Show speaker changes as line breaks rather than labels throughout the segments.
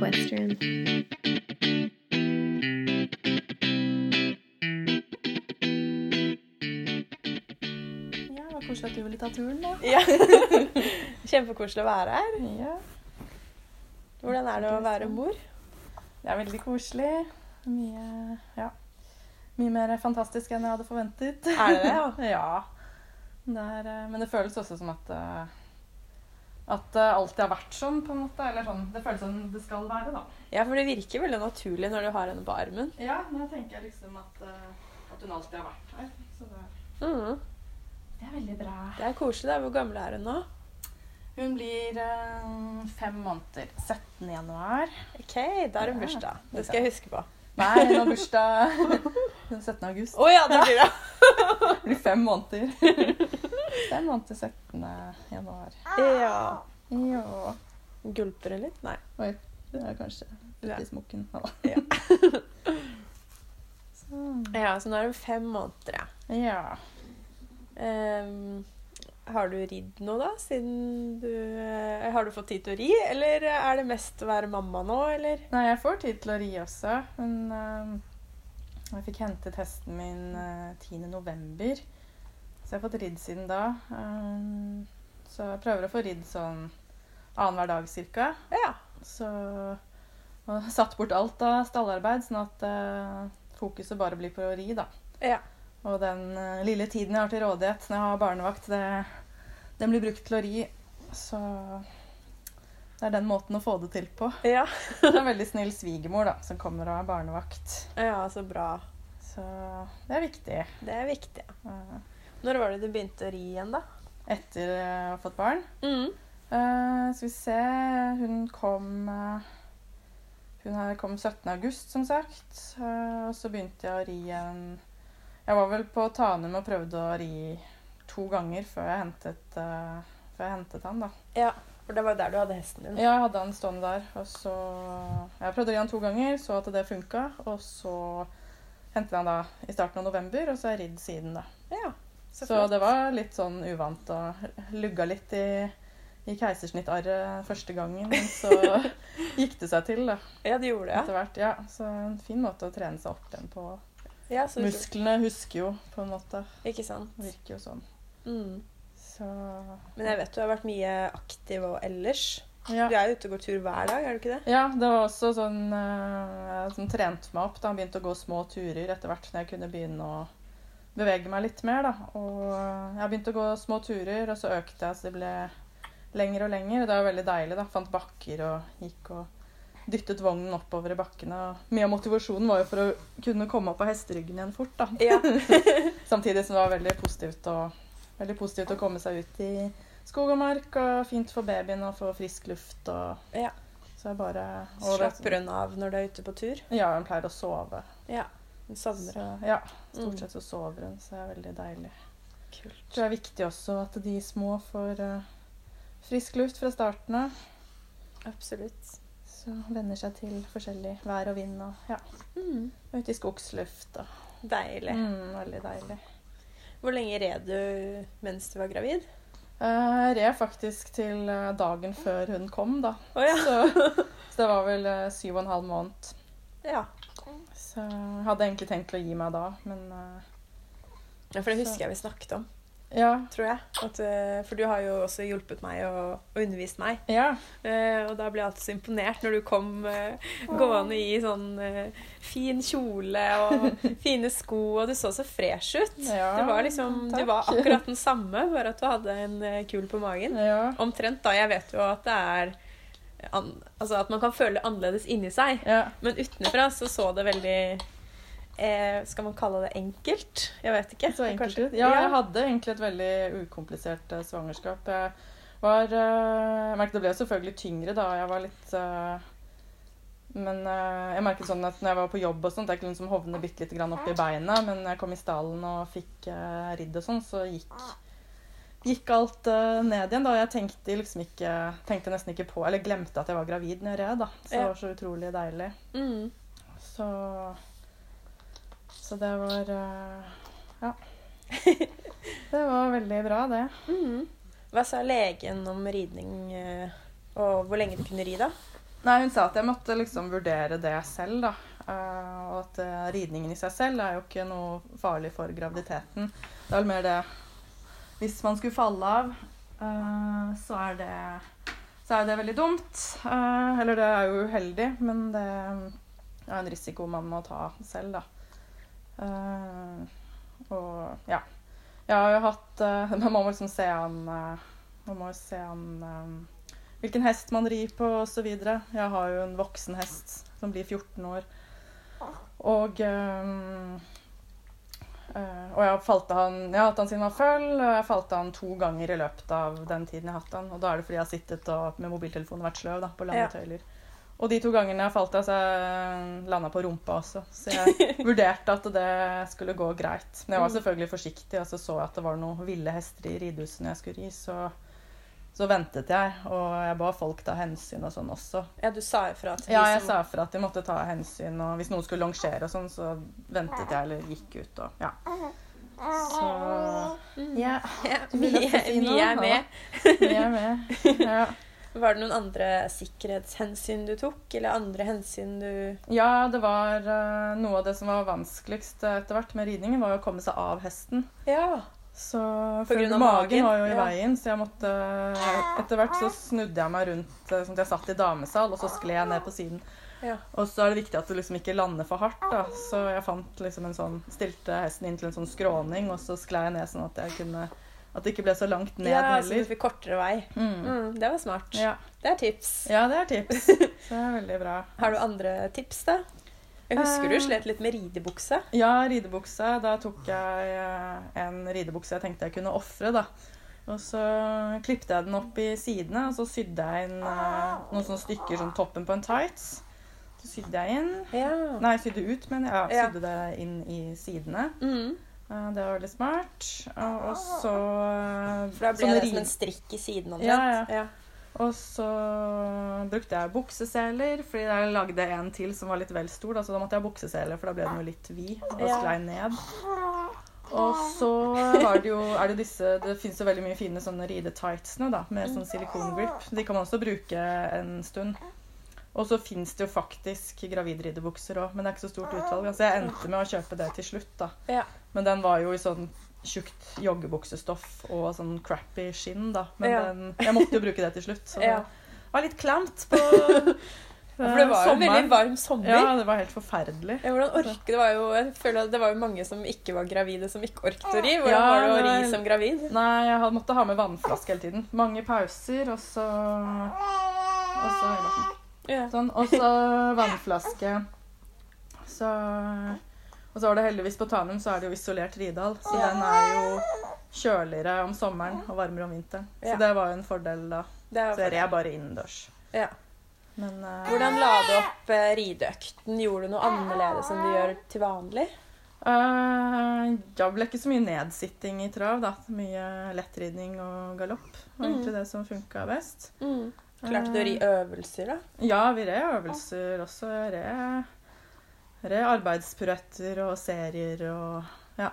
Western.
Ja, det var Koselig at du ville ta turen, da.
Ja. Kjempekoselig å være her.
Ja,
Hvordan er det å være mor?
Det er veldig koselig. Mye ja. Mye mer fantastisk enn jeg hadde forventet.
Er det det, ja?
ja. Det er, eh, men det føles også som at eh, at det alltid har vært sånn, på en måte. Eller sånn, Det føles som det skal være, da.
Ja, for det virker veldig naturlig når du har henne på armen.
Ja, nå tenker jeg liksom at, at hun alltid har vært her. Så det,
Mhm.
er veldig bra.
Det er koselig. da. Hvor gammel er hun nå?
Hun blir eh, fem måneder. 17. januar.
Ok, Da er hun
Ja,
bursdag.
det
Det skal jeg huske på.
Nei, hun har bursdag den 17. august.
Å ja, det blir det.
Det blir fem måneder. Fem måneder 17. januar.
Ja.
Jo.
Gulper hun litt? Nei.
Oi, det er kanskje
Ja.
litt i smokken. Ja.
Ja.
Sånn.
ja, Så nå er hun fem måneder, ja.
Ja.
Ehm, har du ridd nå, da? Siden du eh, Har du fått tid til å ri, eller er det mest å være mamma nå, eller?
Nei, jeg får tid til å ri også, men eh, jeg fikk hentet hesten min eh, 10. november. Så jeg har fått ridd siden da. Eh, så jeg prøver å få ridd sånn annenhver dag cirka.
Ja.
Så og satt bort alt av stallarbeid, sånn at eh, fokuset bare blir på å ri, da.
Ja.
Og den eh, lille tiden jeg har til rådighet når jeg har barnevakt, det, den blir brukt til å ri. Så det er den måten å få det til på.
Ja,
Det er en veldig snill svigermor da, som kommer og har barnevakt.
ja så bra.
Så det er viktig.
Det er viktig. ja.
eh,
Når var det du begynte å ri igjen, da?
Etter eh, å ha fått barn.
Mm.
Eh, skal vi se Hun kom eh, Hun her kom 17. august, som sagt. Eh, og så begynte jeg å ri en Jeg var vel på Tanum og prøvde å ri to ganger før jeg hentet, eh, før jeg hentet han, da.
Ja, for det var jo der du hadde hesten din.
Ja, jeg hadde han stående der, og så Jeg prøvde å ri han to ganger, så at det funka, og så hentet jeg han da i starten av november, og så har jeg ridd siden, da.
Ja,
Så,
flott.
det var litt sånn uvant og lugga litt i, i keisersnittarret første gangen. Men så gikk det seg til da,
Ja, det gjorde det.
etter hvert. Ja, så en fin måte å trene seg opp igjen på.
ja. Ja, så utrolig.
Musklene husker jo på en måte.
Ikke sant.
Virker jo sånn.
Mm.
Så
Men jeg vet du har vært mye aktiv og ellers.
ja.
Du er jo ute og går tur hver dag, er du ikke det?
ja, det var også sånn eh, som trente meg opp. da Han begynte å gå små turer etter hvert når jeg kunne begynne å bevege meg litt mer. da. Og eh, jeg begynte å gå små turer, og så økte jeg så det ble lenger og lenger. Det var veldig deilig. da. Fant bakker og gikk og dyttet vognen oppover i bakkene. og Mye av motivasjonen var jo for å kunne komme opp av hesteryggen igjen fort. da.
Ja.
Samtidig som det var veldig positivt, å, veldig positivt å komme seg ut i skog og mark. og Fint for babyen å få frisk luft. og
Ja.
Så jeg bare og det-
Slapper hun av når du er ute på tur?
Ja, hun pleier å sove.
Ja. Hun
Så,
savner det.
ja,
Mm.
Stort sett så sover hun, så det er veldig deilig.
Kult.
tror det er viktig også at de små får eh, frisk luft fra starten av.
Absolutt.
Så venner seg til forskjellig vær og vind og ja,
Mm.
ute i skogsluft. Og,
Deilig.
mm, veldig deilig.
Hvor lenge red du mens du var gravid?
Eh, Jeg red faktisk til eh, dagen før hun kom, da.
Å ja.
Så, så det var vel eh, syv og en halv måned.
ja.
Så jeg hadde egentlig tenkt å gi meg da, men eh,
Ja, For det husker jeg vi snakket om,
ja.
tror jeg. At, eh, for du har jo også hjulpet meg og, og undervist meg.
Ja.
Eh, og da ble jeg alltid så imponert når du kom eh, gående i sånn eh, fin kjole og fine sko, og du så så fresh ut.
Ja,
det var liksom, Du
takk.
var akkurat den samme, bare at du hadde en eh, kul på magen.
ja.
Omtrent, da. Jeg vet jo at det er an, Altså at man kan føle det annerledes inni seg,
Ja.
men utenfra så så det veldig eh, Skal man kalle det enkelt? Jeg vet ikke.
Så enkelt
Kanskje-
ut. Ja, jeg hadde egentlig et veldig ukomplisert eh, svangerskap. Jeg var eh, Jeg merket det ble jo selvfølgelig tyngre da. Jeg var litt eh, Men eh, jeg merket sånn at når jeg var på jobb og sånt, jeg kunne liksom hovne bitte lite grann opp i beina, men jeg kom i stallen og fikk eh, ridd og sånn, så gikk Gikk alt eh, ned igjen da. Jeg tenkte, liksom ikke, tenkte nesten ikke på Eller glemte at jeg var gravid når jeg red, da. Så
Ja.
det var så utrolig deilig.
Mm.
Så Så det var eh, Ja. Det var veldig bra, det.
Mhm. Hva sa legen om ridning eh, og hvor lenge du kunne ri, da?
Nei, hun sa at jeg måtte liksom vurdere det selv, da. Eh, og at eh, ridningen i seg selv er jo ikke noe farlig for graviditeten. Det er vel mer det Hvis man skulle falle av, eh, så er det så er det veldig dumt. Eh, eller det er jo uheldig, men det er en risiko man må ta selv, da. Eh, og ja. Jeg har jo hatt eh, Man må liksom se an eh, Man må jo se an eh, hvilken hest man rir på osv. Jeg har jo en voksen hest som blir 14 år. Og øhm, øh, og jeg, falt av han, jeg har hatt han siden han var føll, og jeg falt av han to ganger i løpet av den tiden jeg har hatt han. Og da er det fordi jeg har sittet og, med mobiltelefonen og vært sløv da, på lange
Ja.
tøyler. Og de to gangene jeg falt av, så landa jeg på rumpa også. Så jeg vurderte at det skulle gå greit. Men jeg var selvfølgelig forsiktig, og så så jeg at det var noen ville hester i ridehuset når jeg skulle ri, så så ventet jeg, og jeg ba folk ta hensyn og sånn også.
Ja, du sa ifra til
Ja,
de
jeg
som
sa fra at de måtte ta hensyn, og hvis noen skulle longere og sånn, så ventet jeg eller gikk ut og Ja. Så Ja. Du vil
Mm. vi,
også si
vi
noe,
er
Hanna?
med.
Vi er med. Ja,
Var det noen andre sikkerhetshensyn du tok, eller andre hensyn du
ja det var eh, noe av det som var vanskeligst eh, etter hvert med ridningen, var jo å komme seg av hesten.
Ja.
Så
På grunn
for
av
magen
magen,
var jo i
ja.
veien, så jeg måtte Etter hvert så snudde jeg meg rundt eh, sånn at jeg satt i damesal, og så skled jeg ned på siden.
ja.
Og så er det viktig at du liksom ikke lander for hardt, da. Så jeg fant liksom en sånn Stilte hesten inn til en sånn skråning, og så sklei jeg ned sånn at jeg kunne At det ikke ble så langt ned
ja så du
heller.
fikk liksom kortere vei.
Mm.
Mm, det var smart.
Ja.
Det er tips.
ja, det er tips. Så det er veldig bra.
Har du andre tips, da? Jeg husker
Eh.
du slet litt med ridebukse.
Ja, ridebukse. Da tok jeg eh, en ridebukse jeg tenkte jeg kunne ofre, da. Og så klippte jeg den opp i sidene, og så sydde jeg inn eh, noen sånne stykker som toppen på en tights. Så sydde jeg inn
Ja.
Nei, sydde ut, men jeg ja,
Ja.
sydde det inn i sidene.
Mm.
Ja, Det var veldig smart. Og og så
For da ble
sånn
det som
ri-
en strikk i siden omtrent.
Ja,
ja.
Og så brukte jeg bukseseler, fordi jeg lagde en til som var litt vel stor. Da, så da måtte jeg ha bukseseler, for da ble den jo litt vid og
Ja.
sklei ned. Og så har det jo, er det disse Det fins jo veldig mye fine sånne ridetightsene da, med sånn silikongrip. De kan man også bruke en stund. Og så fins det jo faktisk gravidridebukser òg, men det er ikke så stort utvalg. Altså jeg endte med å kjøpe det til slutt, da.
Ja.
Men den var jo i sånn tjukt joggebuksestoff og sånn crappy skinn, da. Men
Ja.
den, jeg måtte jo bruke det til slutt. Så
Ja.
det var litt klamt på
For det var jo en
Eh,
veldig
sommeren.
varm sommer.
Ja, det var helt forferdelig.
Ja, hvordan orke, det var jo, jeg føler at det var jo mange som ikke var gravide, som ikke orket å ri. Hvordan
Ah, Ja,
var det
det
å
var-
ri som gravid?
Nei, jeg hadde- måtte ha med vannflaske hele tiden. Mange pauser, og så Og så
Ja.
Sånn, og så vannflaske. Så, og så var det heldigvis på Tanum så er det jo isolert Ridal, så
Ja.
den er jo kjøligere om sommeren og varmere om vinteren. Så
Ja.
det var jo en fordel da. Så
Det
jeg
var,
red bare innendørs.
ja.
Men eh,
Hvordan la du opp eh, rideøkten? Gjorde du noe annerledes enn du gjør til vanlig?
eh, det ble ikke så mye nedsitting i trav, da. Mye lettridning og galopp var egentlig det som funka best.
Klarte du å ri øvelser, da?
Ja, vi red øvelser også. Jeg Red, red arbeidspuretter og serier og Ja.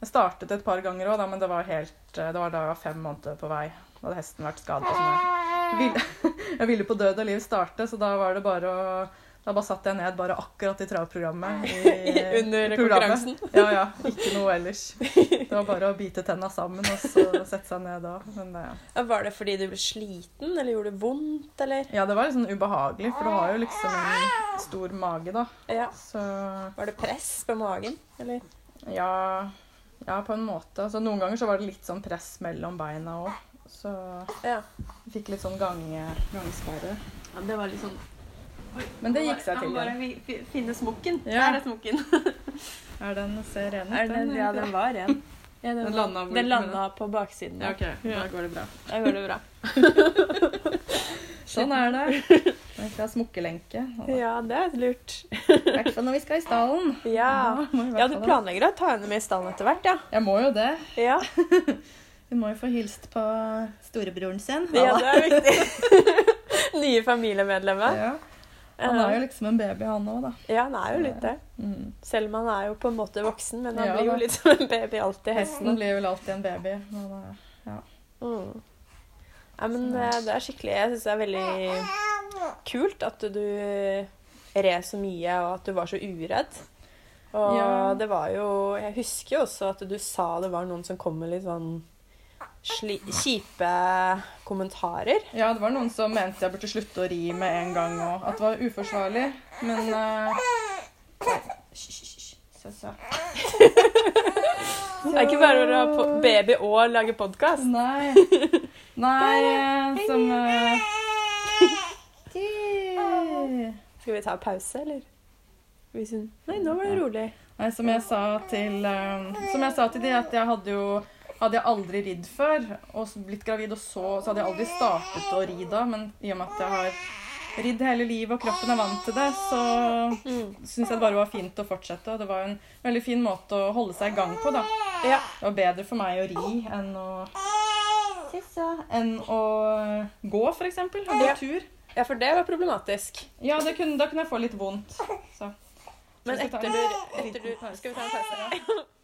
Jeg startet et par ganger òg, men det var, helt, eh, det var da jeg var fem måneder på vei. Da hadde hesten vært skadet. og sånn. Jeg ville, jeg ville på død og liv starte, så da var det bare å da bare satt jeg ned bare akkurat i travprogrammet. i-
Under
i programmet.
konkurransen.
Ja, ja. Ikke noe ellers. Det var bare å bite tenna sammen og så sette seg ned da. Men eh, det,
Ja, Var det fordi du ble sliten, eller gjorde det vondt, eller?
ja, det var litt sånn ubehagelig, for du har jo liksom en stor mage, da.
Ja.
Så
Var det press på magen, eller?
Ja, ja på en måte. Altså, noen ganger så var det litt sånn press mellom beina òg. Så
Ja.
jeg fikk litt sånn gange, gangsperre.
Ja, det var litt sånn
Men det gikk seg til.
Jeg
igjen.
må bare fi- finne smokken.
Ja.
Der er smokken.
Er den ser ren ut?
Er den, ja, den var ren. Ja,
Den
var-
landa hvor-
den landa på baksiden.
Ja, OK. Da
Ja.
går det bra.
Da går det bra.
Sånn er det. Vi skal ha smukkelenke.
Ja, det er lurt.
I hvert fall når vi skal i stallen.
Ja.
Da må vi i hvert
Ja, du
fall-
planlegger å ta henne med i stallen etter hvert, ja?
Jeg må jo det.
Ja,
Vi må jo få hilst på storebroren sin.
ja det er viktig. Nye familiemedlemmer.
Ja. Han er jo liksom en baby, han òg, da.
Ja, han er jo litt det.
Mm.
Selv om han er jo på en måte voksen, men han
Ja,
blir jo
da.
litt som en baby alltid,
Hesten
hesten.
blir vel alltid en baby. Men, eh,
Mm. Ja, men eh, det er skikkelig Jeg syns det er veldig kult at du red så mye, og at du var så uredd. Og
Ja.
det var jo Jeg husker jo også at du sa det var noen som kom med litt sånn sli, kjipe kommentarer.
Ja, det var noen som mente jeg burde slutte å ri med en gang og At det var uforsvarlig. Men eh, Hysj, hysj, hysj. Søsa.
Det er ikke bare å ha po- baby og lage podkast.
Nei. Nei, eh, som eh, de-
Skal vi ta pause, eller? Hvis hun Nei, nå var det rolig.
Nei, som jeg sa til eh, Som jeg sa til de, at jeg hadde jo hadde jeg aldri ridd før og så blitt gravid, og så, så hadde jeg aldri startet å ri da. Men i og med at jeg har ridd hele livet og kroppen er vant til det, så
Mm.
syns jeg det bare var fint å fortsette. Og det var jo en veldig fin måte å holde seg i gang på, da.
Ja.
Det var bedre for meg å ri enn å enn å eh, gå, for eksempel. Og gå
Ja.
tur.
ja, for det var problematisk.
Ja, det kunne, da kunne jeg få litt vondt. Så.
Men
Skal vi ta
etter
en
du,
liten
etter du
pause?
Skal vi ta en pause?